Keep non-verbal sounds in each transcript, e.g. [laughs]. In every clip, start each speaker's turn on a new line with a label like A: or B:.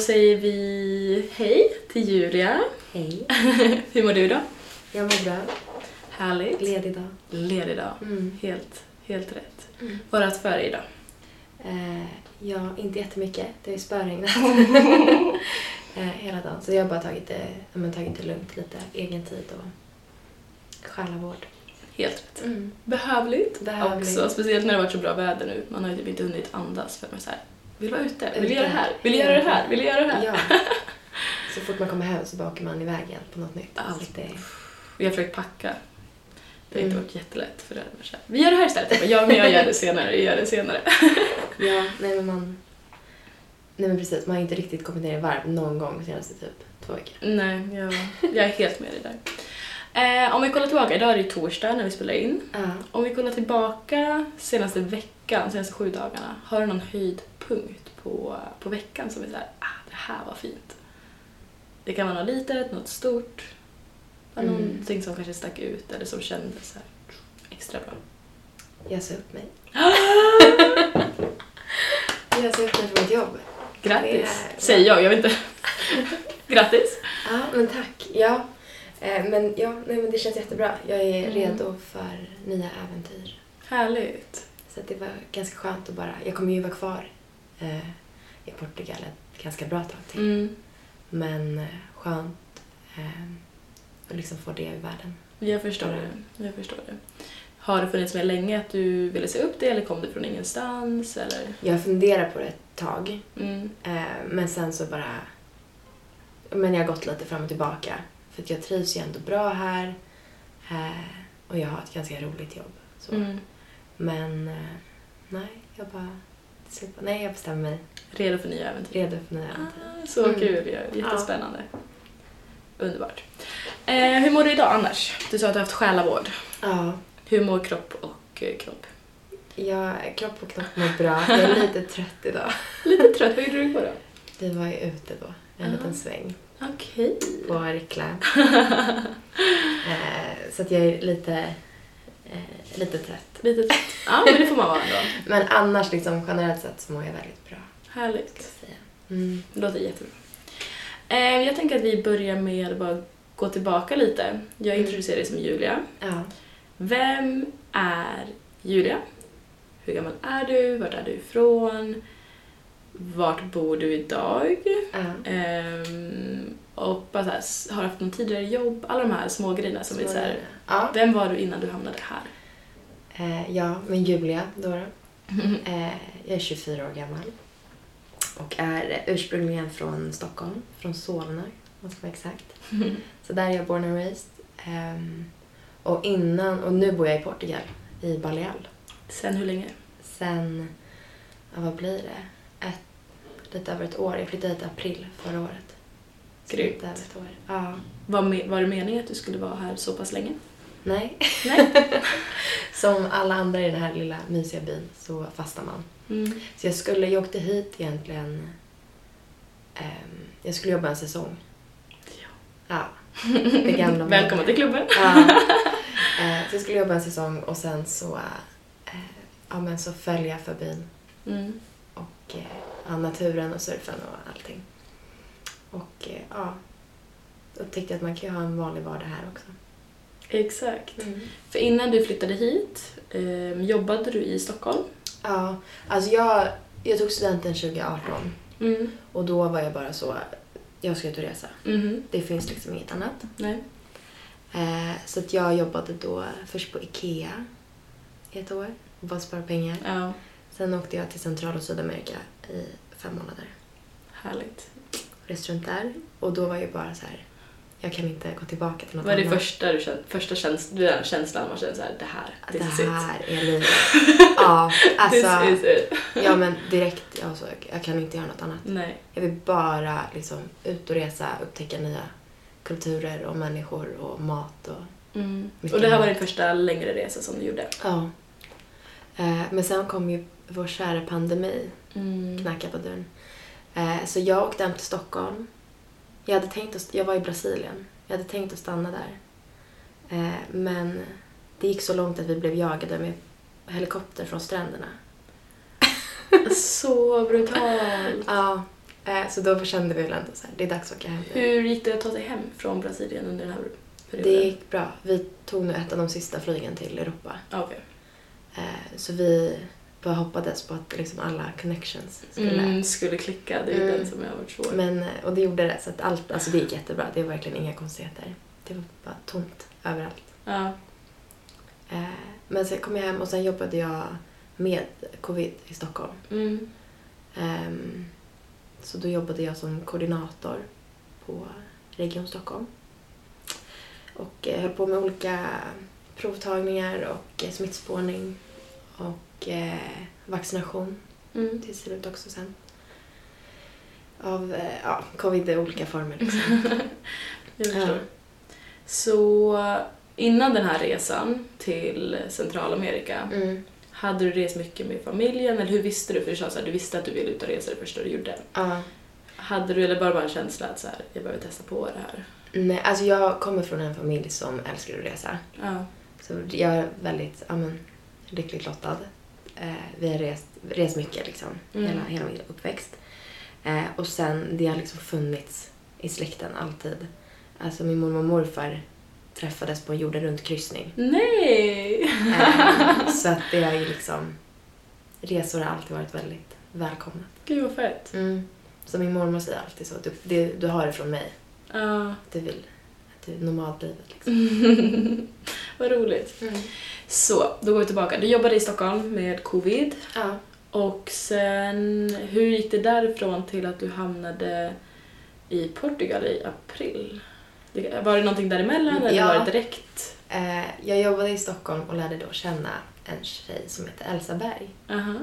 A: säger vi hej till Julia.
B: Hej.
A: Hur mår du idag?
B: Jag mår bra.
A: Härligt.
B: Ledig dag.
A: Ledig dag.
B: Mm.
A: Helt, helt rätt.
B: Mm.
A: Vårat före idag.
B: Eh, ja, inte jättemycket. Det har ju spöregnat eh, hela dagen. Så jag har bara tagit det, ja, men, tagit det lugnt lite. Egen tid och själavård.
A: Helt rätt.
B: Mm.
A: Behövligt.
B: Behövligt.
A: Också, speciellt när det har varit så bra väder nu. Man har ju typ inte hunnit andas för man är så här. vill vara ute, vill
B: Ute.
A: göra det här, vill göra det här, vill göra det här.
B: Ja. Så fort man kommer hem så bara åker man iväg igen på något nytt.
A: Allt.
B: Så det är
A: Vi har försökt packa. Det har inte
B: Mm.
A: varit jättelätt för det. Men så här, Vi gör det här istället. Jag bara, ja, men jag gör det senare, jag gör det senare.
B: Ja, nej men man... Nej men precis, man har inte riktigt kommit ner i varv någon gång senaste typ två veckor.
A: Nej, jag, jag är helt med dig där. Eh, om vi kollar tillbaka, idag är det ju torsdag när vi spelar in.
B: Ja.
A: Om vi kollar tillbaka senaste veckan, senaste sju dagarna, har du någon höjdpunkt på, på veckan som är såhär, ah, det här var fint? Det kan vara något litet, något stort, mm.
B: Mm.
A: någonting som kanske stack ut eller som kändes så här extra bra.
B: Jag sa upp mig. jag sa upp mig från mitt jobb.
A: Grattis!
B: Det är-
A: Säger jag, jag vet [laughs] inte. Grattis!
B: Ja, men tack. Ja. Eh, Men ja, nej men det känns jättebra. Jag är
A: Mm.
B: redo för nya äventyr.
A: Härligt!
B: Så att det var ganska skönt att bara... Jag kommer ju vara kvar eh, i Portugal ett ganska bra tag till.
A: Mm.
B: Men eh, skönt eh, att liksom få det i världen.
A: Jag förstår det. Jag förstår det. Har det funnits med länge att du ville se upp det eller kom det från ingenstans? Eller?
B: Jag funderar på det ett tag.
A: Mm.
B: Eh, men sen så bara... Men jag har gått lite fram och tillbaka. För att jag trivs ju ändå bra här. Eh, och jag har ett ganska roligt jobb. Så.
A: Mm.
B: Men eh, nej, jag bara... till slut bara, Nej, jag bestämmer mig.
A: Redo för nya äventyr.
B: Redo för nya äventyr.
A: Ah, så
B: Mm.
A: kul ju. Jättespännande. Underbart. Eh, hur mår du idag annars? Du sa att du har haft själavård. Ah.
B: Ja,
A: Hur mår kropp och eh, knopp?
B: jag, kropp och knopp mår bra. Jag
A: [laughs]
B: är lite trött idag.
A: Lite trött. Vad gjorde du igår då?
B: Vi var ju ute då, en
A: Ah.
B: liten sväng
A: Okej. [laughs]
B: på Arkla. eh, så att jag är lite, eh, lite trött.
A: Lite trött. Ja, men det får man vara ändå.
B: Men annars liksom generellt sett så mår jag väldigt bra.
A: Härligt.
B: säga. Mm.
A: Det låter jättebra. Eh, jag tänker att vi börjar med att bara gå tillbaka lite. Jag
B: Mm.
A: introducerar dig som Julia.
B: Ja.
A: Vem är Julia? Hur gammal är du? Vart är du ifrån? Vart bor du idag?
B: ja.
A: Ehm, och bara så här, s- har du haft någon tidigare jobb? Alla de här små grejerna som är så här,
B: ja.
A: vem var du innan du hamnade här? [laughs]
B: Eh, ja, men Julia då. då. Eh, jag är 24 år gammal och är ursprungligen från Stockholm, från Solna om man ska vara exakt. Så där är jag born and raised. Ehm, och, innan, och nu bor jag i Portugal, i Baleal.
A: Sen hur länge?
B: Sen, ja, vad blir det? Ett, lite över ett år. Jag flyttade hit i april förra året. Så
A: Grymt.
B: Lite över ett år. Ja.
A: Var, me- var det meningen att du skulle vara här så pass länge?
B: Nej. [laughs]
A: Nej.
B: Som alla andra i den här lilla mysiga byn så fastnar man.
A: Mm.
B: Så jag skulle, jag åkte hit egentligen, ehm, jag skulle jobba en säsong. Ja. Det
A: [laughs]
B: gamla
A: Välkommen till klubben!
B: Ja. Eh, så jag skulle jobba en säsong och sen så, eh, ja men så följa för byn
A: Mm.
B: och eh, ja, naturen och surfen och allting. Och eh, ja, upptäckte jag att man kan ju ha en vanlig vardag här också.
A: Exakt. För innan du flyttade hit, ehm, jobbade du i Stockholm?
B: Ja, alltså jag, jag tog studenten 2018
A: Mm.
B: och då var jag bara så, jag ska ut och resa.
A: Mhm.
B: Det finns liksom inget annat.
A: Nej.
B: Eh, så att jag jobbade då först på IKEA i ett år och bara sparade pengar.
A: Ja,
B: Sen åkte jag till Central och Sydamerika i fem månader.
A: härligt.
B: Reste runt där och då var jag bara så här, jag kan inte gå tillbaka till något
A: Vad är det
B: annat.
A: första, du känner, första käns den här känslan man känner såhär, det här,
B: Att
A: this is
B: Det
A: it.
B: här är livet. ja,
A: [laughs] This
B: alltså.
A: is it.
B: Ja men direkt, jag, så, jag kan inte göra något annat.
A: Nej.
B: Jag vill bara liksom ut och resa, upptäcka nya kulturer och människor och mat och
A: Mm.
B: Mycket
A: Och det här var
B: mer.
A: din första längre resa som du gjorde?
B: Ja. Eh, Men sen kom ju vår kära pandemi
A: Mm.
B: knacka på dörren. Eh, Så jag åkte hem till Stockholm. Jag, hade tänkt att, jag var i Brasilien. Jag hade tänkt att stanna där. Eh, Men det gick så långt att vi blev jagade med
A: [laughs]
B: helikopter från stränderna.
A: Så brutalt.
B: Ja, Eh, så då kände vi väl ändå så här, det är dags att åka hem nu.
A: Hur gick det att ta sig hem från Brasilien under den här perioden?
B: Det gick bra. Vi tog nu ett av de sista flygen till Europa.
A: Ah, Okej.
B: Eh, så vi bara hoppades på att liksom alla connections skulle...
A: Mm, skulle klicka, det är ju
B: Mm.
A: den som har varit svår.
B: Men, eh, och det gjorde det, så att allt, alltså det gick jättebra. Det var verkligen inga konstigheter. Det var bara tomt överallt.
A: Ja.
B: Eh, men sen kom jag hem och sen jobbade jag med covid i Stockholm.
A: Mm.
B: Ehm, så då jobbade jag som koordinator på Region Stockholm. Och eh, höll på med olika provtagningar och eh, smittspårning och eh, vaccination
A: Mm.
B: till slut också sen. Av eh, ja, covid i olika former
A: [laughs]
B: liksom.
A: Jag
B: ja.
A: förstår. Så innan den här resan till Centralamerika,
B: Mm.
A: hade du rest mycket med familjen? Eller hur visste du? För du sa så här, du visste att du ville ut och resa det första du gjorde.
B: ja.
A: Hade du, eller bara bara en känsla att så här, jag behöver testa på det här?
B: Nej, alltså jag kommer från en familj som älskar att resa.
A: Ja.
B: Så jag är väldigt ja, men, lyckligt lottad. Eh, vi har rest, rest mycket liksom,
A: Mm.
B: hela, hela min uppväxt. Eh, och sen, det har liksom funnits i släkten alltid. Alltså min mormor och morfar träffades på en jorden runt-kryssning.
A: Nej!
B: Eh, så att det är ju liksom... Resor har alltid varit väldigt välkomna.
A: [laughs] Gud vad fett.
B: Så min mormor säger alltid så, du, det, du har det från mig.
A: Ja.
B: Att du vill, att du nomadlivet liksom.
A: vad roligt. Så, då går vi tillbaka. Du jobbade i Stockholm med covid.
B: Ja.
A: Och sen, hur gick det därifrån till att du hamnade i Portugal i april? Det- Var det någonting däremellan eller
B: Ja.
A: var det direkt?
B: Eh, jag jobbade i Stockholm och lärde då känna en tjej som heter Elsa Berg.
A: Aha.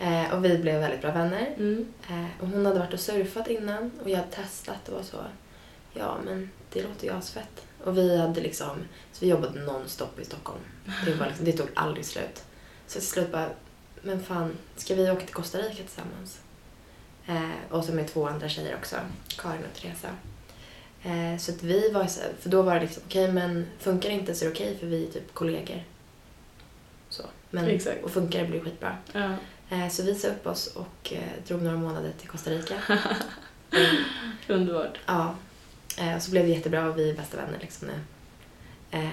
B: Eh, och vi blev väldigt bra vänner.
A: Mm.
B: Eh, och hon hade varit och surfat innan och jag hade testat och var så, ja men det låter ju asfett. Och vi hade liksom, så vi jobbade nonstop i Stockholm. Det, var liksom, det tog aldrig slut. Så till slut bara, men fan, ska vi åka till Costa Rica tillsammans? Eh, och så med två andra tjejer också, Karin och Teresa. Eh, så att vi var så för då var det liksom, okej men funkar det inte så är det okej för vi är typ kollegor. Så. Men,
A: Exakt.
B: Och funkar det blir det skitbra.
A: Ja.
B: Eh, Så vi sa upp oss och eh, drog några månader till Costa Rica.
A: [laughs] Underbart.
B: Ja. Eh, Och så blev det jättebra och vi är bästa vänner liksom nu. Eh,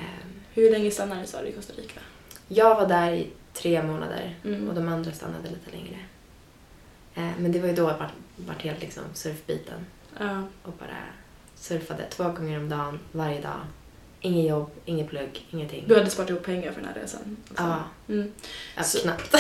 A: Hur länge stannade du sa du i Costa Rica?
B: Jag var där i tre månader
A: Mm.
B: och de andra stannade lite längre. Eh, Men det var ju då jag vart- vart helt liksom surfbiten
A: Ja.
B: och bara surfade två gånger om dagen, varje dag. Inget jobb, inget plugg, ingenting.
A: Du hade sparat ihop pengar för den här resan? också.
B: Ja,
A: Mm.
B: ja
A: Så- [laughs]
B: knappt.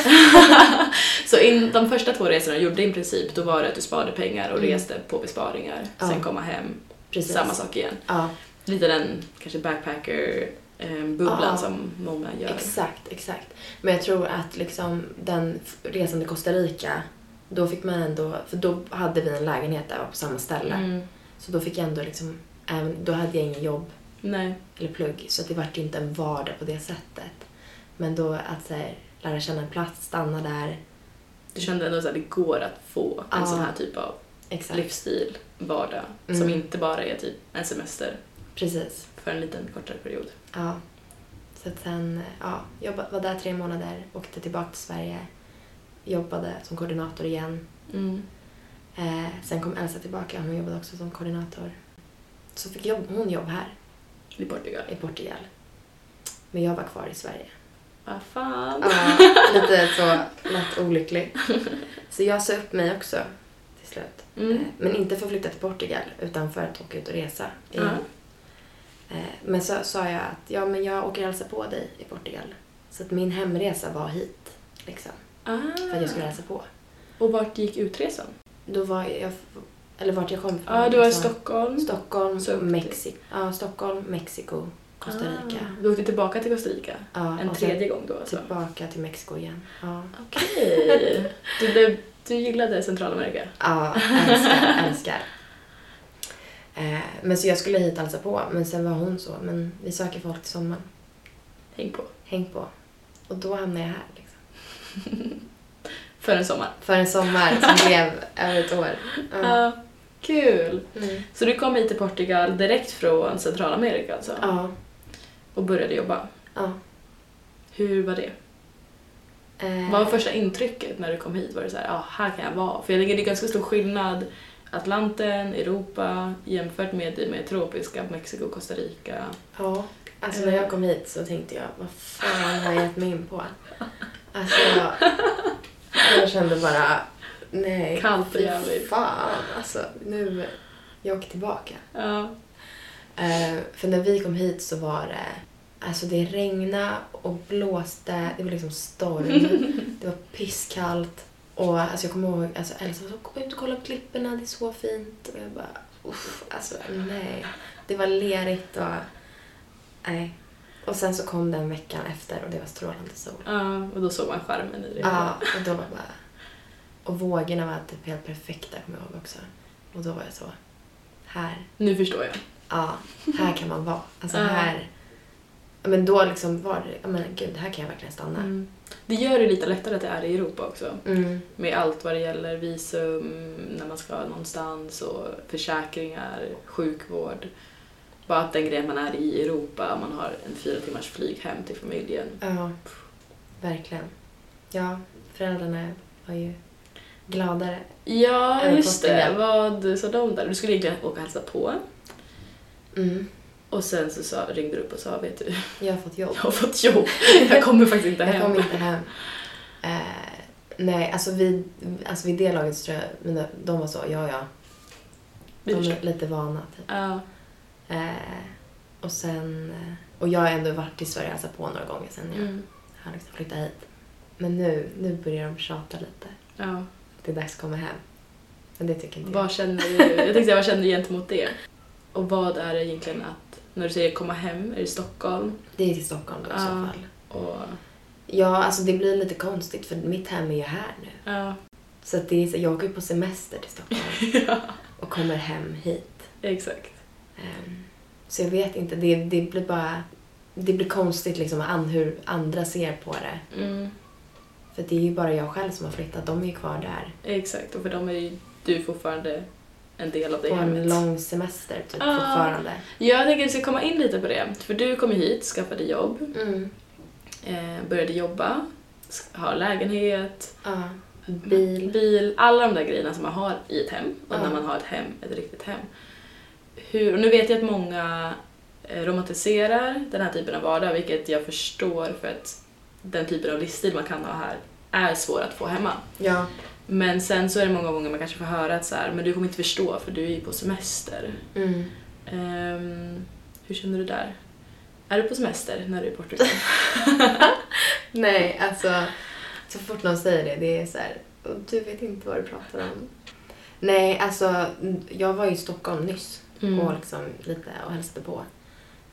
A: Så in, de första två resorna du gjorde i princip, då var det att du sparade pengar och
B: Mm.
A: reste på besparingar,
B: Ja.
A: sen komma hem,
B: Precis.
A: samma sak igen.
B: Ja,
A: Lite den kanske backpacker-bubblan
B: Ja.
A: som många gör.
B: Exakt, exakt. Men jag tror att liksom den f- resan till Costa Rica, då fick man ändå, för då hade vi en lägenhet där på samma ställe.
A: Mm.
B: Så då fick jag ändå liksom, även, då hade jag ingen jobb
A: Nej.
B: eller plugg så det vart inte en vardag på det sättet. Men då att så här, lära känna en plats, stanna där.
A: Du kände ändå att det går att få en
B: Ja.
A: sån här typ av
B: Exakt.
A: livsstil, vardag,
B: Mm.
A: som inte bara är typ en semester
B: Precis.
A: för en liten kortare period.
B: Ja. Så att sen, ja, jag var där tre månader, åkte tillbaka till Sverige, jobbade som koordinator igen.
A: Mm.
B: Eh, sen kom Elsa tillbaka, hon jobbade också som koordinator. Så fick jobb, hon jobb här
A: I Portugal.
B: i Portugal. Men jag var kvar i Sverige.
A: Vad Ah, fan.
B: Ja, lite så lätt olycklig. Så jag sa upp mig också till slut. Eh,
A: Mm.
B: Men inte för att flytta till Portugal utan för att åka ut och resa. igen.
A: Ja.
B: Eh, Men så sa jag att ja, men jag åker och hälsar på dig i Portugal. Så att min hemresa var hit. Liksom, för att jag skulle
A: Ah.
B: hälsa på.
A: Och vart gick utresan?
B: Då var jag... Eller vart jag kom ifrån.
A: Ja, du var i
B: liksom.
A: Stockholm.
B: Stockholm,
A: Så upp till-
B: Mexiko. Ja, Stockholm, Mexiko, Costa Rica.
A: Ah. Du åkte tillbaka till Costa Rica
B: Ja, typ,
A: en
B: och sen
A: tredje gång då alltså?
B: Tillbaka till Mexiko igen. Ja,
A: Okej. [laughs] Du, blev- du gillade Centralamerika?
B: ja älskar, älskar. Eh, men så jag skulle hit alltså på, men sen var hon så, men vi söker folk till sommaren.
A: Häng på.
B: Häng på. Och då hamnade jag här. Liksom.
A: För en sommar.
B: För en sommar
A: [laughs]
B: som blev över ett år. Ja.
A: Ah, kul!
B: Mm.
A: Så du kom hit till Portugal direkt från Centralamerika alltså?
B: ja.
A: Och började jobba.
B: ja.
A: Hur var det?
B: Eh,
A: Vad var första intrycket när du kom hit? Var det så här, ah, här kan jag vara? För jag tänker det är ganska stor skillnad Atlanten, Europa jämfört med det mer tropiska Mexiko, Costa Rica.
B: Ja, alltså när jag kom hit så tänkte jag, vad fan har jag gett mig in på? Alltså, jag, jag kände bara, nej,
A: Kallt och
B: fy
A: jävligt.
B: fan alltså, nu, jag åker tillbaka.
A: Ja.
B: Eh, för när vi kom hit så var det, alltså det regnade och blåste, det var liksom storm, det var pisskallt. Och alltså jag kommer ihåg, alltså Elsa var så, gå ut och kolla på klipporna, det är så fint. Och jag bara, uff, alltså nej. Det var lerigt och, nej. Och sen så kom den veckan efter och det var strålande sol.
A: Ja, och då såg man skärmen i det.
B: Ja, och då var bara... Och vågorna var typ helt perfekta, kommer jag ihåg också. Och då var jag så, här
A: Nu förstår jag.
B: ja, här kan man vara. Alltså
A: Ja.
B: här... ja, Men då liksom var det, ja men gud, här kan jag verkligen stanna.
A: Mm. Det gör det lite lättare att det är i Europa också.
B: Mm.
A: Med allt vad det gäller visum, när man ska någonstans och försäkringar, sjukvård. Bara att den grejen man är i Europa, man har en fyra timmars flyg hem till familjen.
B: Ja, verkligen. Ja, föräldrarna var ju gladare.
A: Ja,
B: Eller
A: just det.
B: Portugal.
A: Vad sa de där? Du skulle egentligen åka och hälsa på.
B: Mm.
A: Och sen så sa, ringde du upp och sa, vet du,
B: Jag har fått
A: jag
B: jobb.
A: har fått jobb. [laughs] Jag kommer faktiskt inte
B: Jag kom
A: hem.
B: inte hem. Eh, nej, alltså vid, alltså vid det laget så tror jag mina, de var så, ja ja.
A: Vi
B: De
A: förstår.
B: är lite vana typ.
A: Ja,
B: Eh, och sen, eh, och jag har ändå varit i Sverige och hälsat på några gånger sen jag
A: mm.
B: har liksom flyttat hit. Men nu, nu börjar de tjata lite.
A: ja.
B: Det är dags att komma hem. Men det tycker inte jag.
A: Vad känner du, jag tänkte säga, vad känner du gentemot det? Och vad är det egentligen att, när du säger komma hem, är det Stockholm?
B: Det är till Stockholm då i
A: Ja.
B: så fall.
A: Och,
B: Ja, alltså det blir lite konstigt för mitt hem är ju här nu.
A: ja, [laughs]
B: Så att det är, så- jag åker ju på semester till Stockholm och kommer hem hit.
A: exakt.
B: Ehm, så jag vet inte, det, det blir bara... Det blir konstigt liksom an, hur andra ser på det.
A: Mm,
B: För det är ju bara jag själv som har flyttat, de är ju kvar där.
A: exakt, och för dem är ju du fortfarande en del av det Ah.
B: På en
A: hemmet.
B: lång semester typ
A: Ja.
B: fortfarande.
A: Jag tänker att vi ska komma in lite på det, för du kom ju hit, skaffade jobb,
B: Mm.
A: eh, började jobba, sk- har lägenhet,
B: Ja. Bil.
A: bil, alla de där grejerna som man har i ett hem och
B: Ja.
A: när man har ett hem, ett riktigt hem. Hur, och nu vet jag att många eh, romantiserar den här typen av vardag, vilket jag förstår för att den typen av livsstil man kan ha här är svår att få hemma.
B: Ja.
A: Men sen så är det många gånger man kanske får höra att så här, men du kommer inte förstå för du är ju på semester.
B: Mm.
A: Ehm, hur känner du där? Är du på semester när du är i
B: [laughs]
A: Portugal?
B: Nej, alltså så fort någon säger det, det är så här, "Och du vet inte vad du pratar om. Nej, alltså jag var ju i Stockholm nyss
A: Mm,
B: och liksom lite och hälsade på.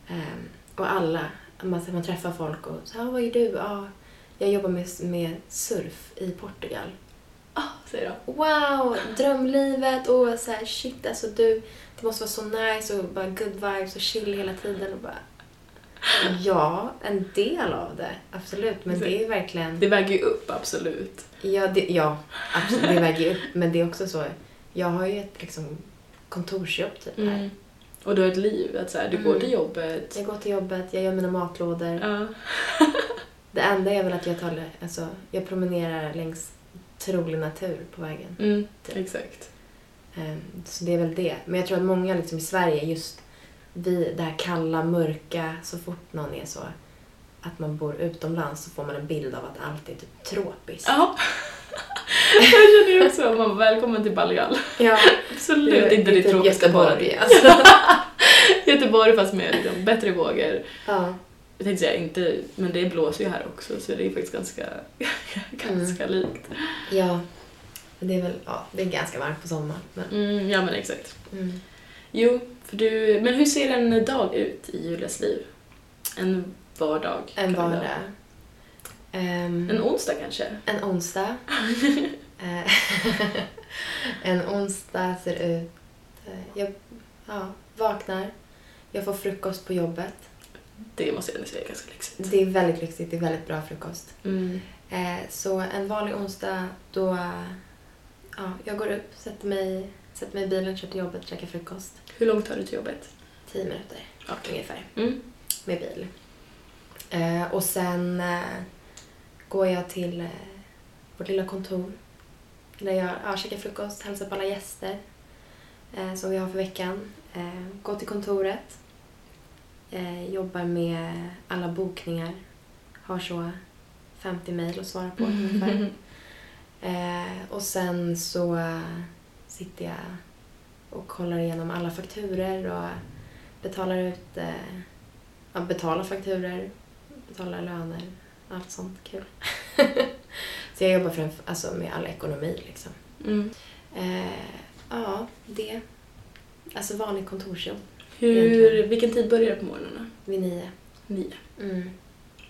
B: Ehm, och alla, man, man träffar folk och så här, "Ah, vad gör du? Ja, jag jobbar med, med surf i Portugal.
A: Ah, säger de.
B: Wow, drömlivet och så här, shit alltså du, det måste vara så nice och bara good vibes och chill hela tiden och bara Ja, en del av det, absolut. Men det är verkligen...
A: Det väger ju upp, absolut.
B: Ja, det, ja absolut, det väger ju upp. Men det är också så, jag har ju ett liksom, kontorsjobb typ
A: Mm.
B: här.
A: Och du har ett liv, att så här, du går
B: Mm.
A: till jobbet.
B: Jag går till jobbet, jag gör mina matlådor.
A: Ja.
B: Det enda är väl att jag tar, alltså, jag promenerar längs trolig natur på vägen.
A: Mm, exakt.
B: Ehm, Så det är väl det. Men jag tror att många liksom, i Sverige, just vi, det här kalla, mörka, så fort någon är så att man bor utomlands så får man en bild av att allt är typ tropiskt.
A: Ja. [laughs] Jag känner ju också, man bara, välkommen till Balgal.
B: Ja,
A: Absolut inte det
B: typ
A: tråkigaste
B: Göteborg,
A: Göteborg.
B: alltså.
A: [laughs] Göteborg fast med liksom, bättre vågor.
B: ja.
A: Jag tänkte säga inte, men det blåser ju här också så det är faktiskt ganska, [laughs] ganska likt.
B: Ja. Men Det är väl, ja, det är ganska varmt på sommaren. Men,
A: Mm, ja men exakt.
B: mm.
A: Jo, för du, men hur ser en dag ut i Julias liv? En vardag?
B: En
A: kan vi
B: vardag.
A: ha.
B: Ehm,
A: En onsdag kanske? [laughs]
B: en onsdag. Eh, [laughs] en onsdag ser ut... eh, Jag ja, vaknar. Jag får frukost på jobbet.
A: Det måste jag ändå säga är ganska lyxigt.
B: Det är väldigt lyxigt. Det är väldigt bra frukost.
A: Mm.
B: Eh, så en vanlig onsdag då... eh, Ja, jag går upp, sätter mig, sätter mig i bilen, kör till jobbet, käkar frukost.
A: Hur långt tar du till jobbet?
B: Tio minuter ungefär.
A: Mm.
B: med bil. Eh, och sen eh, går jag till eh, vårt lilla kontor där jag ja, käkar frukost, hälsar på alla gäster eh, som vi har för veckan. Eh, går till kontoret, eh, jobbar med alla bokningar, har så 50 mejl att svara på ungefär. Eh, och sen så eh, sitter jag och kollar igenom alla fakturer och betalar ut, eh, ja, betalar fakturer, betalar löner, allt sånt kul. så jag jobbar framför, alltså med all ekonomi liksom.
A: Mm.
B: Eh, ja, det. Alltså vanlig kontorsjobb
A: Hur,
B: Egentligen.
A: vilken tid börjar du på morgonen?
B: vid nio.
A: Nio.
B: Mm.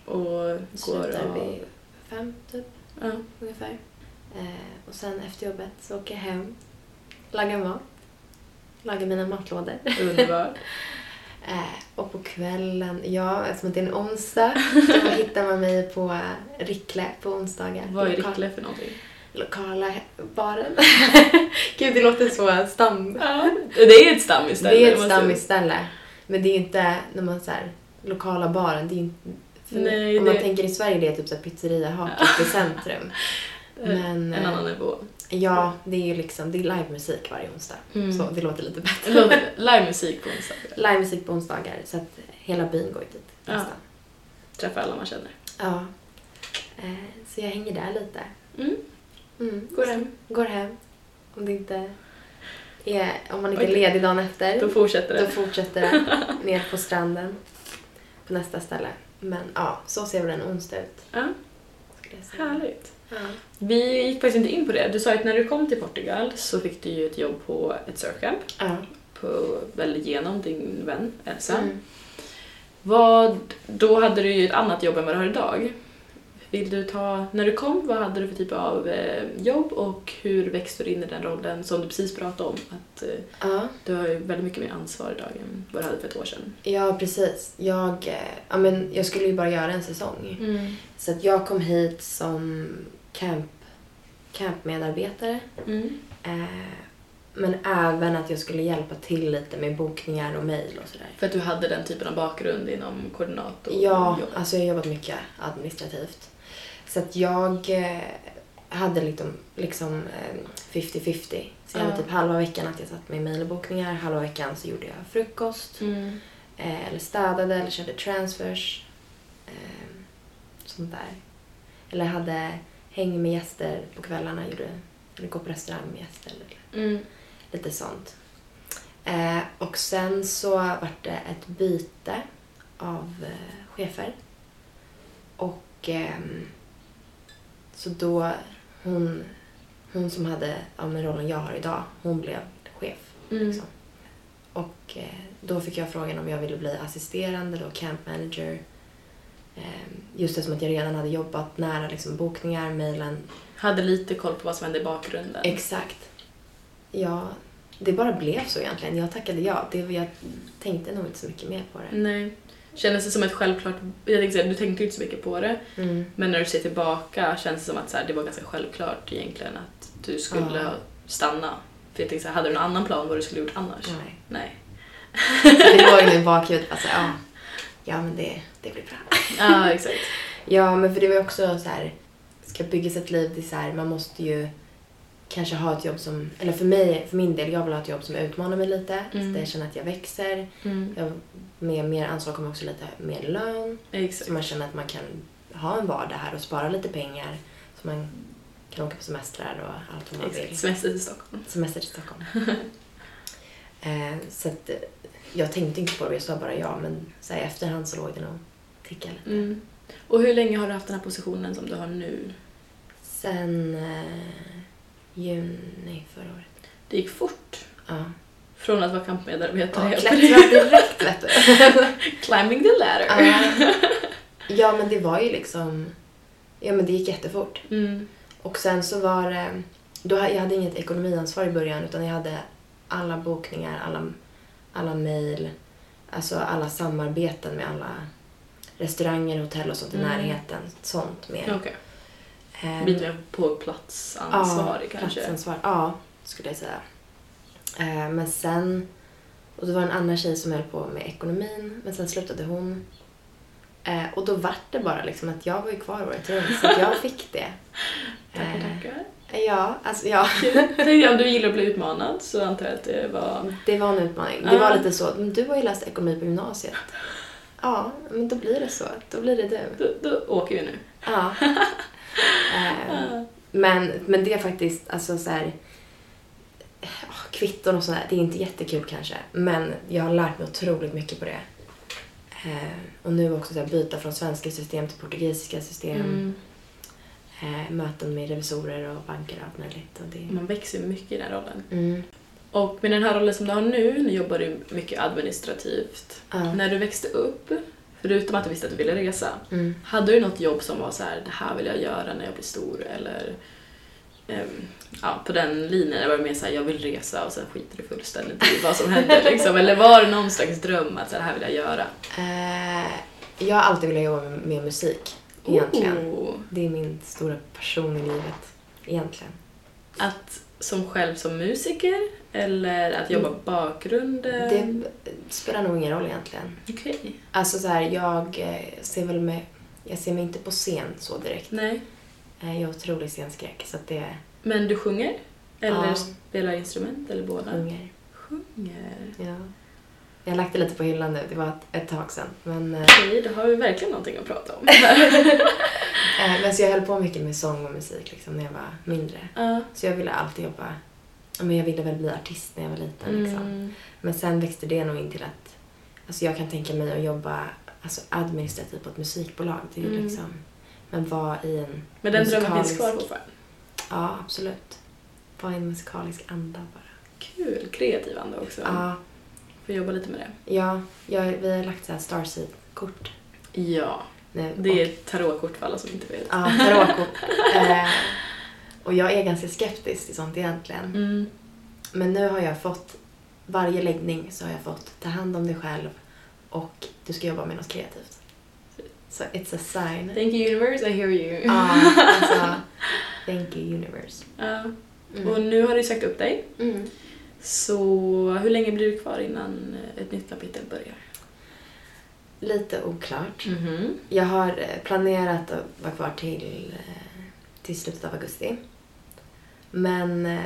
A: Och går
B: Slutar
A: och...
B: vid fem typ
A: Ja.
B: ungefär. Eh, och sen efter jobbet så åker jag hem, lagar mat, lagar mina matlådor.
A: Underbar.
B: Eh, och på kvällen, ja eftersom det är en onsdag så hittar man mig på eh, Rickle på onsdagar.
A: Vad är
B: Loka-
A: Rickle för någonting?
B: Lokala he- baren. [laughs] Gud det låter så stam...
A: Ja. Det är ett stammisställe.
B: Det är ett
A: måste-
B: stammisställe. Men det är inte när man så här, lokala baren, det är inte... För
A: Nej,
B: om man
A: det-
B: tänker i Sverige det är typ så här pizzeria haket i
A: [laughs]
B: centrum. Men
A: En
B: eh,
A: annan nivå.
B: ja, det är ju liksom, det är livemusik varje onsdag.
A: Mm.
B: Så det låter lite bättre.
A: Låter- Livemusik på onsdag.
B: Livemusik på onsdagar så att hela byn går ju dit
A: Ja.
B: nästan.
A: Träffar alla man känner.
B: Ja. Eh, Så jag hänger där lite.
A: Mm.
B: Mm.
A: Går hem.
B: Går hem. Om det inte är, om man inte
A: Okej.
B: är ledig dagen efter.
A: Då fortsätter
B: Då
A: det.
B: fortsätter det
A: [laughs]
B: ner på stranden. På nästa ställe. Men ja, så ser väl en onsdag ut.
A: Ja,
B: skulle jag säga.
A: härligt.
B: Ja.
A: Vi gick faktiskt inte in på det. Du sa att när du kom till Portugal så fick du ju ett jobb på ett surfcamp,
B: ja.
A: på, väl genom din vän eh, Elsa.
B: Mm.
A: Vad, då hade du ju ett annat jobb än vad du har idag. Vill du ta, när du kom, vad hade du för typ av eh, jobb och hur växte du in i den rollen som du precis pratade om? Att eh,
B: ja.
A: du har ju väldigt mycket mer ansvar idag än vad du hade för ett år sedan.
B: Ja, precis. Jag, eh, ja, men jag skulle ju bara göra en säsong. Så att jag kom hit som camp, campmedarbetare.
A: Mm.
B: Eh, men även att jag skulle hjälpa till lite med bokningar och mejl och sådär.
A: För att du hade den typen av bakgrund inom koordinator
B: Ja,
A: jobb.
B: alltså jag har jobbat mycket administrativt. Så att jag eh, hade liksom, liksom eh, 50-50. Så jag
A: Ja.
B: hade typ halva veckan att jag satt med mejl och bokningar, halva veckan så gjorde jag frukost,
A: Mm.
B: eh, eller städade, eller körde transfers. Eh, sånt där. Eller hade häng med gäster på kvällarna, gjorde, eller gå på restaurang med gäster. Eller
A: Mm.
B: lite sånt. Eh, och sen så vart det ett byte av eh, chefer. Och ehm, så då hon, hon som hade ja, men rollen jag har idag, hon blev chef.
A: Mm.
B: Liksom. Och eh, då fick jag frågan om jag ville bli assisterande då, camp manager. Ehm, just eftersom att jag redan hade jobbat nära liksom, bokningar, mejlen,
A: Hade lite koll på vad som hände i bakgrunden.
B: Exakt. Ja, det bara blev så egentligen. Jag tackade ja. Det, jag tänkte nog inte så mycket mer på det.
A: Nej. Kändes det som ett självklart... Jag tänkte säga, du tänkte ju inte så mycket på det.
B: Mm.
A: Men när du ser tillbaka känns det som att så här, det var ganska självklart egentligen att du skulle
B: Ja.
A: ha stanna. För jag tänkte så här, hade du någon annan plan vad du skulle gjort annars?
B: Nej.
A: Nej.
B: Det låg ju i bakhuvudet bara så här, ja. Ja, men det, det blir bra.
A: Ja, exakt.
B: Ja, men för det var ju också så här, ska bygga sig ett liv, det är så här, man måste ju kanske ha ett jobb som, eller för mig, för min del, jag vill ha ett jobb som utmanar mig lite.
A: Mm.
B: Där jag känner att jag växer.
A: Mm.
B: Jag, med mer ansvar kommer också lite mer lön. Så
A: Exakt.
B: man känner att man kan ha en vardag här och spara lite pengar. Så man kan åka på semestrar och allt vad man
A: exakt.
B: vill.
A: Semester till Stockholm.
B: Semester
A: [laughs]
B: till Stockholm. eh, så att eh, jag tänkte inte på det, jag sa bara ja. Men så här, i efterhand så låg det nog ticka lite.
A: Mm. Och hur länge har du haft den här positionen som du har nu?
B: Sen eh, juni förra året.
A: Det gick fort.
B: Ja.
A: Från att vara kampmedarbetare. [laughs]
B: Och
A: helt
B: klättrade direkt
A: [laughs]
B: vet du.
A: Climbing the ladder.
B: Ja. ja men det var ju liksom, ja men det gick jättefort.
A: Mm.
B: Och sen så var det... Då, ha- jag hade inget ekonomiansvar i början utan jag hade alla bokningar, alla, alla mejl, alltså alla samarbeten med alla restauranger, hotell och sånt i
A: Mm.
B: närheten. Sånt mer.
A: Okej.
B: Ehm,
A: Lite mer på platsansvarig kanske.
B: Platsansvar, ja, skulle jag säga. Eh, men sen... Och det var en annan tjej som höll på med ekonomin, men sen slutade hon. Eh, och då vart det bara liksom att jag var ju kvar året runt så att jag fick det.
A: [laughs] Tackar, tackar.
B: Eh, ja, alltså ja.
A: Tänkte jag, Om du gillar att bli utmanad så antar jag att det var...
B: Det var en utmaning. Det var
A: Ja.
B: lite så, men du har ju läst ekonomi på gymnasiet. Ja, men då blir det så. Då blir det du.
A: Då, då åker vi nu. [laughs]
B: Ja. Eh, men, men det är faktiskt, alltså så här, åh, kvitton och sådär, det är inte jättekul kanske. Men jag har lärt mig otroligt mycket på det. Eh, och nu också så här, byta från svenska system till portugisiska system.
A: Mm.
B: Eh, möten med revisorer och banker och allt möjligt. Och det,
A: Man växer mycket i den här rollen.
B: mm.
A: Och med den här rollen som du har nu, nu jobbar du mycket administrativt.
B: Ja.
A: När du växte upp, förutom att du visste att du ville resa,
B: Mm.
A: hade du något jobb som var så här: det här vill jag göra när jag blir stor eller ehm, ja, på den linjen, eller var det mer såhär, jag vill resa och sen skiter du fullständigt i vad som
B: [laughs]
A: händer liksom? Eller var det någon slags dröm att så här, det här vill jag göra?
B: Eh, jag har alltid velat jobba med, med musik, egentligen.
A: Oh,
B: Det är min stora passion i livet, egentligen.
A: att som själv som musiker eller att jobba bakgrunden?
B: Mm. Det spelar nog ingen roll egentligen.
A: Okej.
B: Alltså så här, jag eh, ser väl mig... Jag ser mig inte på scen så direkt.
A: Nej.
B: Eh, Jag har otrolig scenskräck så att det
A: Men du sjunger? Eller
B: Ja.
A: spelar instrument eller båda?
B: sjunger.
A: Sjunger.
B: Ja. Jag har lagt det lite på hyllan nu, det var ett, ett tag sedan. Men, eh,
A: Okej, då har vi verkligen någonting att prata
B: [laughs]
A: om.
B: eh, men så jag höll på mycket med sång och musik liksom, när jag var mindre.
A: Ja.
B: Så jag ville alltid jobba... ja, Men jag ville väl bli artist när jag var liten. Liksom.
A: Mm.
B: Men sen växte det nog in till att alltså jag kan tänka mig att jobba alltså administrativt på ett musikbolag. Det är ju
A: Mm.
B: liksom, men vara i en...
A: Men den drömmen finns
B: Musikalisk.
A: kvar fortfarande.
B: Ja, absolut. Vara i en musikalisk anda bara.
A: Kul, kreativ anda också.
B: Ja,
A: Får jobba lite med det.
B: ja jag, vi har lagt så här Starseed-kort
A: Ja,
B: nu.
A: det är
B: Och,
A: ett tarotkort för alla som inte vet.
B: ja, tarotkort. eh, och jag är ganska skeptisk till sånt egentligen.
A: Mm.
B: Men nu har jag fått, varje läggning så har jag fått ta hand om dig själv och du ska jobba med något kreativt. Så it's a sign.
A: Thank you universe, I hear you.
B: Ja, alltså, thank you universe.
A: [laughs] Ja. Och
B: Mm.
A: nu har du sagt upp dig.
B: Mm.
A: Så hur länge blir du kvar innan eh, ett nytt kapitel börjar?
B: Lite oklart.
A: Mhm.
B: Jag har eh, planerat att vara kvar till, eh, till slutet av augusti. Men eh,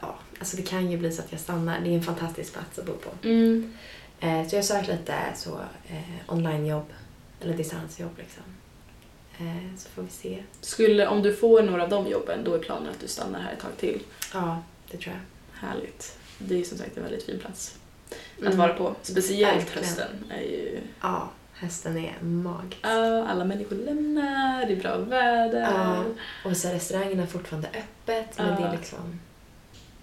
B: ja, alltså det kan ju bli så att jag stannar. Det är en fantastisk plats att bo på.
A: Mm.
B: Eh, Så jag söker lite så eh, onlinejobb eller distansjobb liksom. Eh, Så får vi se.
A: Skulle, om du får några av de jobben, då är planen att du stannar här ett tag till.
B: Ja, det tror jag.
A: Härligt. Det är som sagt en väldigt fin plats att
B: Mm.
A: vara på. Speciellt
B: Verkligen.
A: hösten. Är ju,
B: Mm. Ja, hösten är magisk.
A: Ja, alla människor lämnar, det är bra väder,
B: Ja, och så är restaurangerna fortfarande öppet men
A: Ja.
B: det är liksom,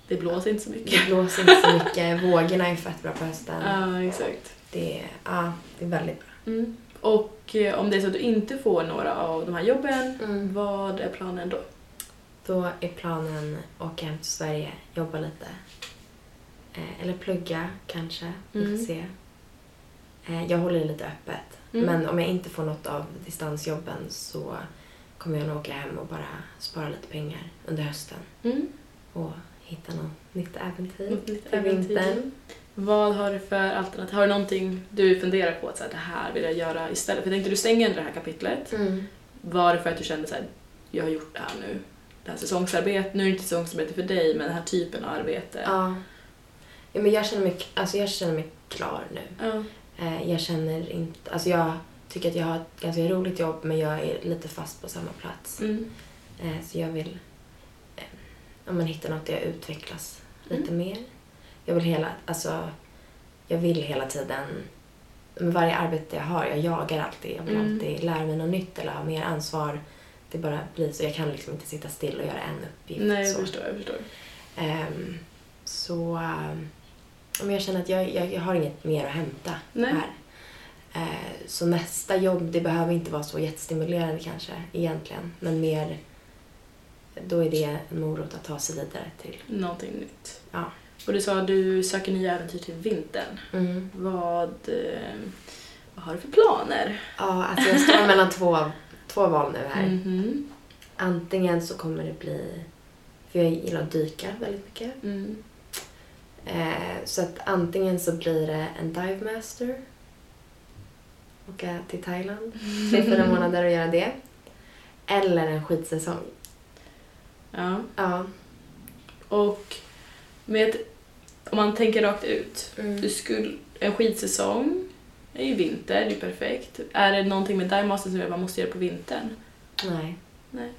A: det blåser inte så mycket.
B: det blåser inte så mycket, vågorna är fett bra på hösten.
A: [laughs] Ja, exakt.
B: Det, är, ja, det är väldigt bra.
A: Mm. Och eh, om det är så att du inte får några av de här jobben,
B: Mm.
A: vad är planen då?
B: Då är planen att åka hem till Sverige, jobba lite. Eh, eller plugga kanske, vi får
A: Mm.
B: se. Eh, jag håller det lite öppet.
A: Mm.
B: Men om jag inte får något av distansjobben så kommer jag nog åka hem och bara spara lite pengar under hösten
A: Mm.
B: och hitta något nytt äventyr
A: Något nytt
B: till
A: äventyr.
B: vintern.
A: Vad har du för alternativ? Har du någonting du funderar på att så här, det här vill jag göra istället? För jag tänkte du stänger ändå det här kapitlet.
B: Mm.
A: Var det för att du kände så här, jag har gjort det här nu? Det här säsongsarbetet, nu är det inte säsongsarbete för dig, men den här typen av arbete.
B: Ja. ja men jag, känner mig, alltså jag känner mig klar nu.
A: Ja. mm.
B: Eh, jag känner inte... Alltså jag tycker att jag har ett ganska roligt jobb men jag är lite fast på samma plats.
A: Mm.
B: Eh, Så jag vill, eh, om man hittar något där jag utvecklas
A: Mm.
B: lite mer. Jag vill hela, alltså, jag vill hela tiden, med varje arbete jag har, jag jagar alltid. Jag vill
A: Mm.
B: alltid lära mig något nytt eller ha mer ansvar. Det bara blir så. Jag kan liksom inte sitta still och göra en uppgift.
A: Nej, jag
B: så
A: förstår, jag förstår.
B: Ehm, så ehm, ja, men jag känner att jag, jag, jag har inget mer att hämta
A: Nej.
B: här. Eh, så nästa jobb, det behöver inte vara så jättestimulerande kanske egentligen. Men mer, då är det en morot att ta sig vidare till.
A: Någonting nytt.
B: Ja.
A: Och du sa att du söker nya äventyr till vintern.
B: Mm.
A: Vad, eh, vad har du för planer?
B: Ja, alltså jag står mellan två, två val nu här.
A: Mhm.
B: Antingen så kommer det bli, för jag gillar att dyka väldigt mycket.
A: Mm.
B: Eh, så att antingen så blir det en dive master Åka till Thailand tre, fyra månader och göra det. Eller en skidsäsong.
A: Ja.
B: Ja.
A: Och med ett, om man tänker rakt ut. Du skulle, en skidsäsong är ju vinter, det är perfekt. Är det någonting med divemastern som gör att man måste göra det på vintern?
B: Nej.
A: Nej.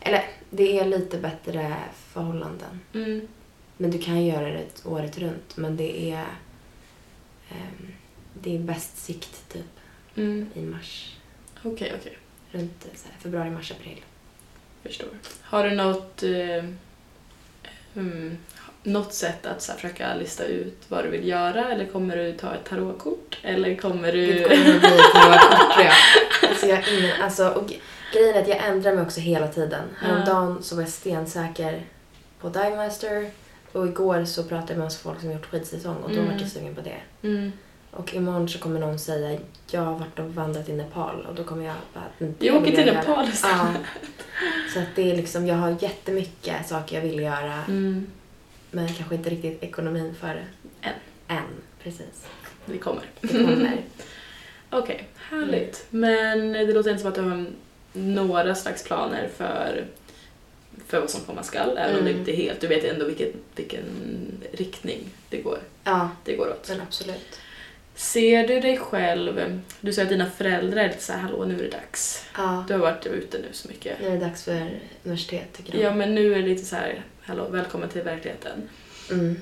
B: Eller, det är lite bättre förhållanden.
A: Mm.
B: Men du kan göra det året runt. Men det är... ehm, det är bäst sikt typ
A: Mm.
B: i mars.
A: Okej, okej.
B: Runt eh, så här, februari, mars, april.
A: Förstår. Har du något, eh, mm, något sätt att så här, försöka lista ut vad du vill göra eller kommer du ta ett tarotkort? Eller kommer
B: Gud,
A: du...
B: kommer det bli ett jävla kort, tror jag. Eh. Alltså, jag har ingen, alltså, och ge- grejen är att jag ändrar mig också hela tiden. Häromdagen så var jag stensäker på Divemaster och igår så pratade jag med oss folk som gjort skidsäsong och då
A: Mm.
B: var jag sugen på det.
A: [laughs] Mm.
B: Och imorgon så kommer någon säga jag har varit och vandrat i Nepal och då kommer jag bara... "Mm, "Det
A: Jag åker
B: vill
A: till
B: göra."
A: Nepal istället.
B: Ja. Så att det är liksom, jag har jättemycket saker jag vill göra
A: Mm.
B: men kanske inte riktigt ekonomin för det.
A: Än.
B: Än, precis.
A: Det kommer.
B: Det kommer.
A: [laughs] Okej, härligt. Men det låter inte som att du har några slags planer för, för vad som komma skall. Även om det
B: Mm.
A: inte är helt, du vet ändå vilken, vilken riktning det går,
B: ja,
A: det går åt.
B: men absolut.
A: Ser du dig själv, du sa att dina föräldrar är lite såhär hallå nu är det dags.
B: Ja,
A: Du har varit ute nu så mycket.
B: nu är det dags för universitet tycker de.
A: Ja men nu är det lite så här, hallå välkommen till verkligheten.
B: Mm.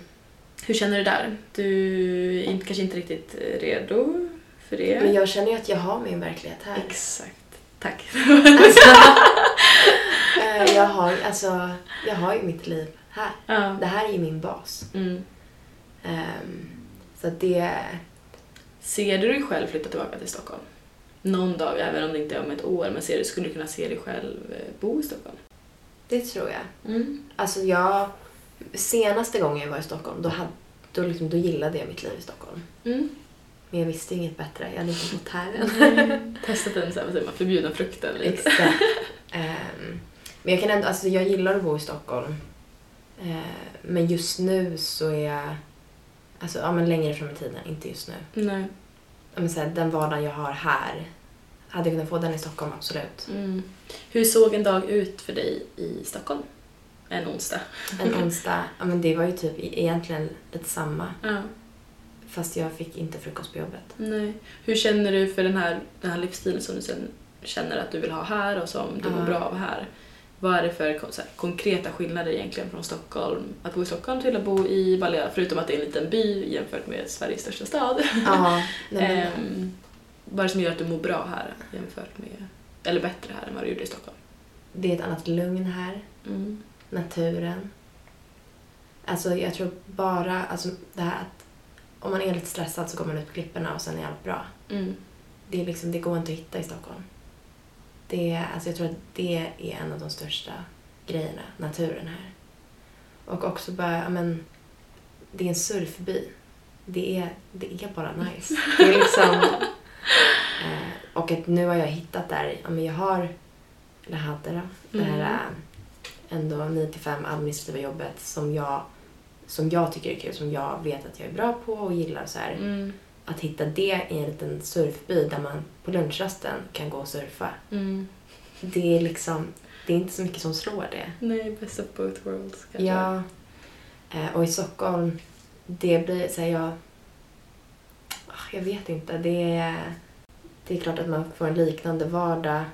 A: Hur känner du där? Du är inte, kanske inte riktigt redo för det?
B: Men jag känner ju att jag har min verklighet här.
A: [laughs] Exakt. Tack.
B: Alltså, [laughs] eh, jag, har, alltså, jag har ju mitt liv här.
A: ja.
B: Det här är ju min bas.
A: mm.
B: Ehm, så att det...
A: Ser du dig själv flytta tillbaka till Stockholm? Någon dag, även om det inte är om ett år, men ser du, skulle du kunna se dig själv eh, bo i Stockholm?
B: Det tror jag.
A: Mm.
B: Alltså jag... Senaste gången jag var i Stockholm, då, hade, då, liksom, då gillade jag mitt liv i Stockholm.
A: Mm.
B: Men jag visste inget bättre. Jag hade inte bott här än.
A: Testat den så här, vad säger man, förbjudna frukten lite.
B: Exakt. Ehm, men jag kan ändå... Alltså jag gillar att bo i Stockholm. Ehm, men just nu så är jag... Alltså, ja men längre fram i tiden, inte just nu.
A: Nej.
B: Ja, men så här, den vardagen jag har här, hade jag kunnat få den i Stockholm, absolut.
A: Mm. Hur såg en dag ut för dig i Stockholm? En onsdag.
B: En onsdag, ja, men det var ju typ e- egentligen lite samma,
A: Ja.
B: fast jag fick inte frukost på jobbet.
A: Nej. Hur känner du för den här, den här livsstilen som du sen känner att du vill ha här och som du mår
B: Ja.
A: bra av här? Vad är det för kon- så här, konkreta skillnader egentligen från Stockholm, att bo i Stockholm till att bo i Balea? Förutom att det är en liten by jämfört med Sveriges största stad.
B: Ja, [laughs] nej, men,
A: Ehm, vad är det som gör att du mår bra här jämfört med, eller bättre här än vad du gjorde i Stockholm?
B: det är ett annat lugn här,
A: Mm.
B: naturen. Alltså jag tror bara, alltså det här att om man är lite stressad så går man ut på klipporna och sen är allt bra.
A: Mm.
B: Det, är liksom, det går inte att hitta i Stockholm. Det, är- alltså jag tror att det är en av de största grejerna, naturen här. Och också bara, ja, men, det är en surfby. Det är, det är bara nice. Det är liksom, eh, och att nu har jag hittat där, ja, men jag har, eller hade då, det här
A: Mm.
B: eh, ändå 9 till 5 administrativa jobbet som jag, som jag tycker är kul, som jag vet att jag är bra på och gillar. Så här
A: Mm.
B: att hitta det i en liten surfby där man på lunchrasten kan gå och surfa.
A: Mm.
B: Det är liksom, det är inte så mycket som slår det.
A: Nej, best of both worlds kanske.
B: Ja. Eh, Och i Stockholm, det blir så här, jag... Ah, Jag vet inte. Det är, det är klart att man får en liknande vardag.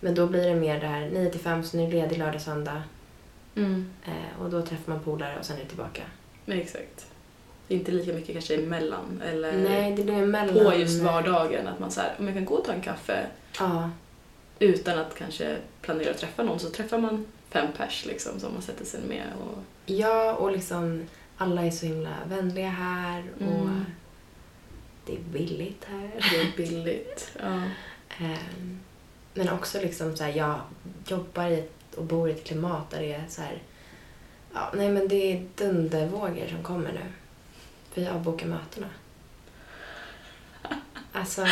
B: Men då blir det mer det här 9 till 5, så nu är det ledig lördag, söndag.
A: Mm.
B: Eh, Och då träffar man polare och sen är det tillbaka.
A: Nej, exakt. Det är inte lika mycket kanske emellan eller
B: Nej, det blir emellan.
A: på just vardagen att man så här, om jag kan gå och ta en kaffe
B: Ja,
A: utan att kanske planera att träffa någon så träffar man fem pers liksom som man sätter sig med och
B: Ja, och liksom alla är så himla vänliga här och
A: Mm.
B: det är billigt här.
A: det är billigt. [laughs] Ja.
B: Ehm, Men också liksom så här, jag jobbar i ett, och bor i ett klimat där det är så här, ja, nej men det är dundervågor som kommer nu. Vi avbokar [laughs] mötena. Alltså,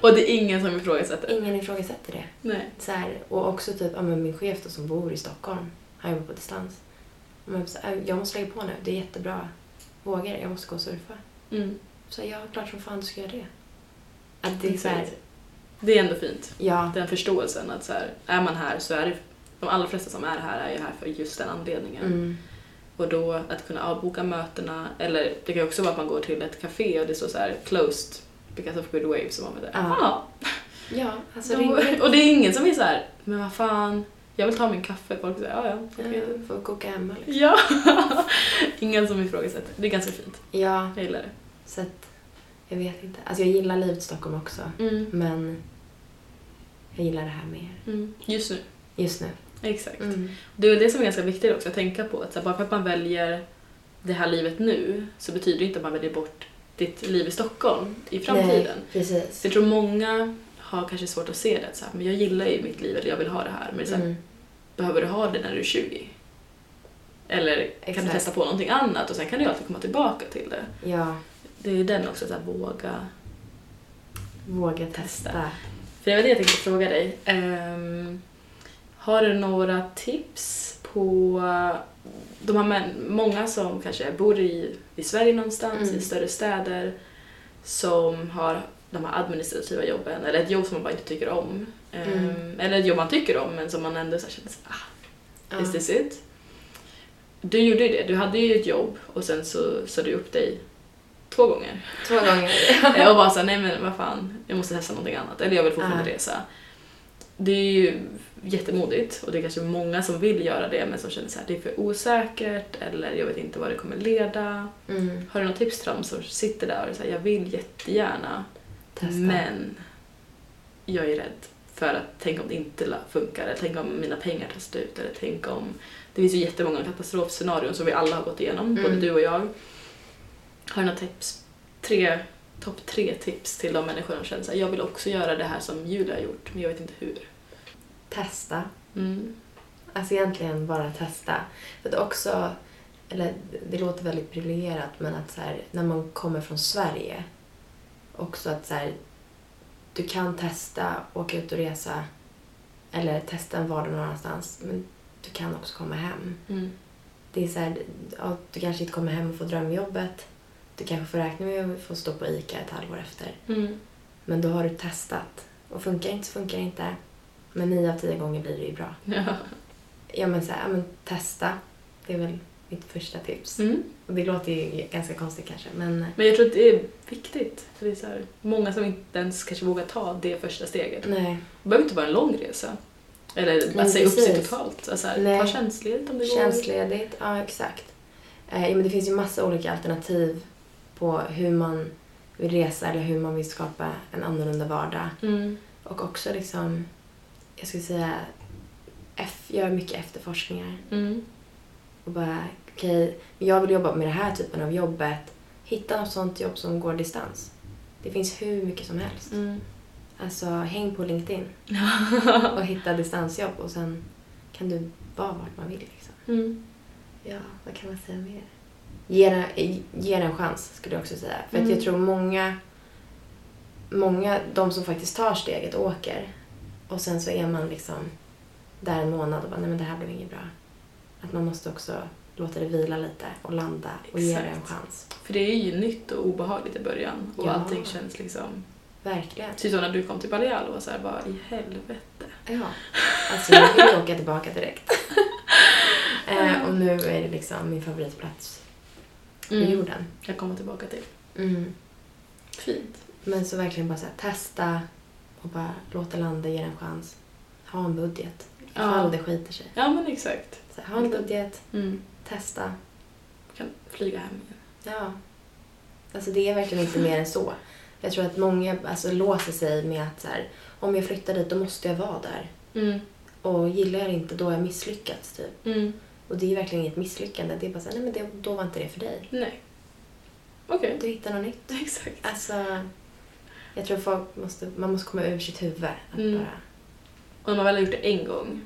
A: Och det är ingen som ifrågasätter.
B: ingen ifrågasätter det.
A: Nej.
B: Så här, och också typ, ja, men min chef då, som bor i Stockholm, han jobbar på distans. Men så här, jag måste lägga på nu, det är jättebra vågor, jag måste gå och surfa.
A: Mm.
B: Så jag ja, klart som fan du ska göra det. Att det är så här,
A: Exakt. Det är ändå fint.
B: ja,
A: Den förståelsen att så här, är man här så är det, de allra flesta som är här är ju här för just den anledningen.
B: mm,
A: Och då att kunna avboka mötena, eller det kan ju också vara att man går till ett café och det står så här closed because of good waves och man bara
B: Ja.
A: ah,
B: ja, alltså
A: då,
B: ringer
A: Och det är ingen som är så här, men vad fan, jag vill ta min kaffe. Folk säger ja, ja, okej.
B: ja, folk åka hem. eller-
A: Ja! [laughs] Ingen som ifrågasätter. Det är ganska fint.
B: Ja,
A: Jag gillar det.
B: så att jag vet inte. Alltså jag gillar livet i Stockholm också,
A: Mm.
B: men jag gillar det här mer
A: Mm. Just nu.
B: just nu.
A: Exakt.
B: Mm.
A: Det är väl det som är ganska viktigt också att tänka på. Att så här, bara för att man väljer det här livet nu så betyder det inte att man väljer bort ditt liv i Stockholm i framtiden.
B: Nej, precis.
A: Så jag tror många har kanske svårt att se det. Att så här, men jag gillar ju mitt liv eller jag vill ha det här. Men så här,
B: Mm.
A: behöver du ha det när du är 20? Eller kan du
B: Exakt.
A: testa på någonting annat och sen kan du ju alltid komma tillbaka till det.
B: Ja,
A: Det är ju den också, att så här, våga
B: våga
A: Testa.
B: testa.
A: För det var det jag tänkte fråga dig. Ehm, har du några tips på de här män, många som kanske bor i, i Sverige någonstans,
B: Mm.
A: i större städer, som har de här administrativa jobben, eller ett jobb som man bara inte tycker om. Ehm,
B: Mm.
A: Eller ett jobb man tycker om men som man ändå så här känner så här, ah, is
B: Ja.
A: this it? Du gjorde ju det, du hade ju ett jobb och sen så sa du upp dig två gånger.
B: Två gånger.
A: [laughs] Jag bara såhär, nej men vad fan, jag måste testa någonting annat. Eller jag vill fortfarande
B: Ja.
A: resa. Det är ju jättemodigt och det är kanske många som vill göra det men som känner såhär, det är för osäkert eller jag vet inte vad det kommer leda.
B: Mm.
A: Har du något tips till dem som sitter där och säger jag vill jättegärna
B: Testa.
A: men jag är rädd för att tänk om det inte la- funkar eller tänk om mina pengar tar slut eller tänk om... Det finns ju jättemånga katastrofscenarion som vi alla har gått igenom, både
B: Mm.
A: du och jag. Har du några tips? Tre, topp tre tips till de människor som känner såhär, jag vill också göra det här som Julia har gjort men jag vet inte hur.
B: Testa.
A: Mm.
B: Alltså egentligen bara testa. För att också, eller det låter väldigt privilegierat, men att så här, när man kommer från Sverige, också att så här, du kan testa, åka ut och resa, eller testa en vardag någon annanstans, men du kan också komma hem.
A: Mm.
B: Det är så här, ja, du kanske inte kommer hem och får drömjobbet, du kanske får räkna med att få stå på ICA ett halvår efter,
A: Mm.
B: men då har du testat. Och funkar det inte så funkar det inte, men nio av tio gånger blir det ju bra
A: [laughs] Ja.
B: ja, men så här, ja, men testa. Det är väl mitt första tips.
A: Mm.
B: Och det låter ju ganska konstigt kanske, men eh,
A: Men jag tror att det är viktigt. För det är så här, många som inte ens kanske vågar ta det första steget.
B: nej.
A: Det behöver inte vara en lång resa. Eller
B: Nej,
A: att säga upp sig
B: precis.
A: totalt. Alltså, här,
B: Nej.
A: ta tjänstledigt om det går.
B: Tjänstledigt, ja exakt. Eh, ja, men det finns ju massa olika alternativ på hur man vill resa eller hur man vill skapa en annorlunda vardag.
A: Mm.
B: Och också liksom, jag skulle säga, F, gör mycket efterforskningar.
A: Mm.
B: och bara okej, jag vill jobba med den här typen av jobbet. Hitta något sånt jobb som går distans. Det finns hur mycket som helst.
A: Mm.
B: Alltså häng på [laughs] LinkedIn och hitta distansjobb och sen kan du vara vart man vill. Liksom.
A: Mm.
B: Ja, vad kan man säga mer? Ge den, ge den en chans skulle jag också säga. För att
A: Mm.
B: jag tror många, många, de som faktiskt tar steget åker och sen så är man liksom där en månad och bara nej men det här blev inget bra. Att man måste också låta det vila lite och landa och ge det en
A: Exakt.
B: chans.
A: För det är ju nytt och obehagligt i början och
B: Ja.
A: allting känns liksom...
B: Verkligen.
A: Typ som när du kom till Baleal och var såhär, vad i helvete?
B: Ja. Alltså jag vill ju åka tillbaka direkt. eh, och nu är det liksom min favoritplats på
A: Mm.
B: jorden.
A: Jag kommer tillbaka till.
B: Mm.
A: Fint.
B: Men så verkligen bara så här, testa och bara låta landa, ge den en chans. Ha en budget. Ifall det skiter sig.
A: ja men exakt.
B: Så här, ha en budget,
A: Mm.
B: testa.
A: Kan flyga hem igen.
B: Ja. Alltså det är verkligen inte mer än så. Jag tror att många alltså, låser sig med att så här, om jag flyttar dit då måste jag vara där.
A: Mm.
B: Och gillar jag det inte då har jag misslyckats typ.
A: Mm.
B: Och det är verkligen inget misslyckande. Det är bara så här, nej men det, då var inte det för dig.
A: Nej. Okej. [laughs]
B: Du hittar något nytt.
A: Exakt.
B: Alltså, jag tror folk måste, man måste komma ur sitt huvud. Att
A: Mm.
B: bara,
A: Och när man väl har gjort det en gång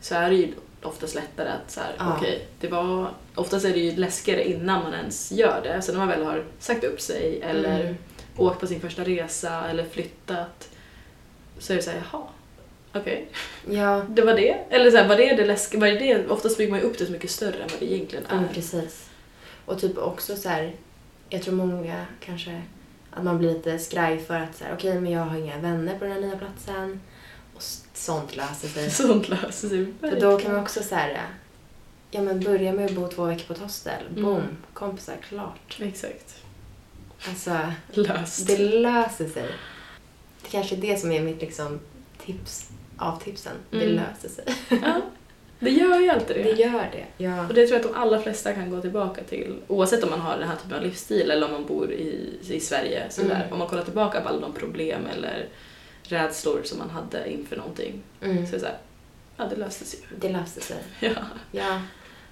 A: så är det ju oftast lättare att så här,
B: Ja.
A: okej, det var... Oftast är det ju läskigare innan man ens gör det. Så när man väl har sagt upp sig eller
B: Mm.
A: åkt på sin första resa eller flyttat så är det såhär, jaha, okej,
B: Ja,
A: det var det. Eller såhär, var det det läskiga? Var det det? Oftast bygger man ju upp det så mycket större än vad det egentligen
B: ja men
A: är.
B: precis. Och typ också så här, jag tror många kanske Att man blir lite skraj för att så här, okej men jag har inga vänner på den här nya platsen. Och s- sånt löser sig.
A: Sånt löser sig
B: För
A: verkligen.
B: då kan man också så här, eh, ja men börja med att bo två veckor på ett hostel.
A: Mm.
B: Boom, kompisar, klart.
A: Exakt.
B: Alltså,
A: Löst.
B: det löser sig. Det kanske är det som är mitt liksom tips av tipsen. Det
A: Mm.
B: löser sig.
A: Ja, det gör ju alltid
B: Det gör det. Ja.
A: Och det tror jag att de allra flesta kan gå tillbaka till oavsett om man har den här typen av livsstil eller om man bor i, i Sverige. Sådär.
B: Mm.
A: Om man kollar tillbaka på alla de problem eller rädslor som man hade inför någonting.
B: Mm.
A: Så är det såhär, ja det löstes ju.
B: Det löser sig.
A: [laughs] Ja.
B: Ja.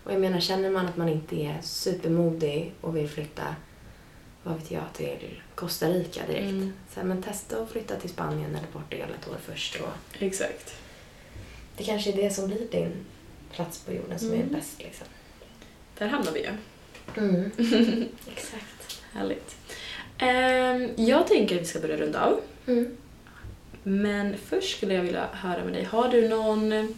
B: Och jag menar, känner man att man inte är supermodig och vill flytta, vad vet jag, till Costa Rica direkt.
A: Mm.
B: Så här, men testa att flytta till Spanien eller Portugal ett år först. Och
A: Exakt.
B: det kanske är det som blir din plats på jorden som
A: Mm.
B: är bäst. Liksom.
A: Där hamnar vi ju. [laughs] Mm.
B: Exakt.
A: Härligt. Ehm, jag tänker att vi ska börja runda av.
B: Mm.
A: Men först skulle jag vilja höra med dig, har du någon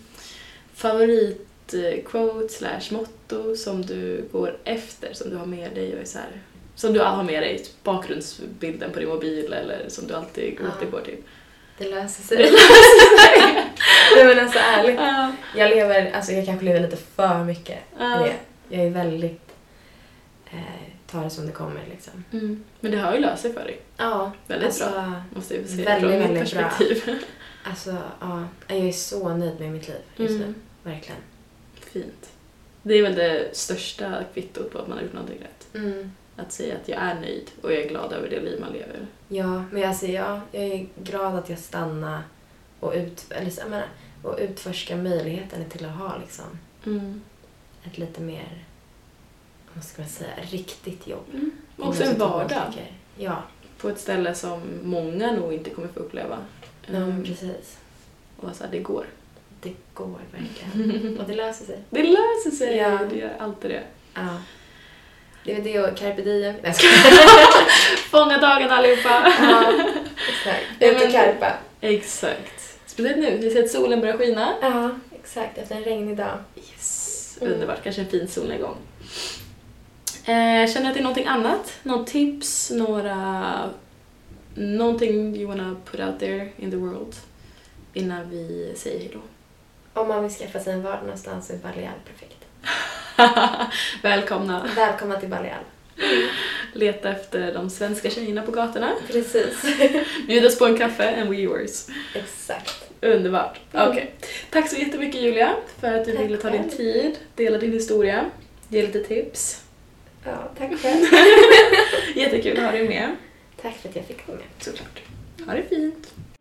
A: favoritquote slash motto som du går efter, som du har med dig och är så här, som du har med dig, typ bakgrundsbilden på din mobil eller som du alltid
B: Ja.
A: återgår till?
B: Det löser sig. [laughs] Det löser sig. Nej men alltså
A: [laughs]
B: ärligt.
A: Ja,
B: Jag lever, alltså jag kanske lever lite för mycket i
A: ja.
B: det. Jag är väldigt, eh, tar det som det kommer liksom.
A: Mm. Men det har ju löst sig för dig,
B: Ja,
A: Väldigt
B: alltså,
A: måste jag säga
B: Väldigt,
A: från mitt
B: väldigt bra.
A: perspektiv.
B: Alltså, ja. Jag är så nöjd med mitt liv just
A: Mm.
B: nu. Verkligen.
A: Fint. Det är väl det största kvittot på att man har gjort någonting rätt. Att säga att jag är nöjd och jag är glad över det liv man lever.
B: Ja, men jag säger ja. Jag är glad att jag stannar och, ut, eller, så- jag menar, och utforskar möjligheterna till att ha liksom,
A: Mm.
B: ett lite mer, vad ska man säga, riktigt jobb.
A: Mm. Också
B: Inom
A: en
B: situationen,
A: vardag.
B: tycker jag. Ja,
A: på ett ställe som många nog inte kommer få uppleva.
B: ja men
A: Ehm,
B: precis.
A: och så här, det går.
B: Det går
A: [laughs]
B: verkligen. och det löser sig.
A: Det löser sig!
B: Ja.
A: Det gör alltid det.
B: Ja. Det är väl det och carpe diem. Nej, jag skojar. [laughs]
A: Fånga dagen allihopa!
B: Ja, exakt.
A: Ja,
B: Ut
A: men-
B: och karpa.
A: [laughs] Exakt. Speciellt nu, vi ser att solen börjar skina.
B: Ja, exakt. Efter en regnig dag.
A: Yes.
B: Mm.
A: Underbart, kanske en fin solnedgång. Eh, känner du att det är någonting annat? Något tips? Några... Någonting you wanna put out there in the world? Innan vi säger hejdå. [laughs]
B: Om man vill skaffa sig en vardag någonstans så är Baleal perfekt.
A: Välkomna!
B: Välkomna till Baleal.
A: Leta efter de svenska tjejerna på gatorna.
B: Precis.
A: Bjud oss på en kaffe and we yours.
B: [laughs] Exakt.
A: Underbart.
B: Mm.
A: Okej. Tack så jättemycket Julia för att du
B: Tack
A: ville ta din
B: själv.
A: tid, dela din historia, ge lite tips.
B: Ja, tack [laughs] själv.
A: Jättekul att ha dig med.
B: tack för att jag fick vara med.
A: Såklart. Ha det fint.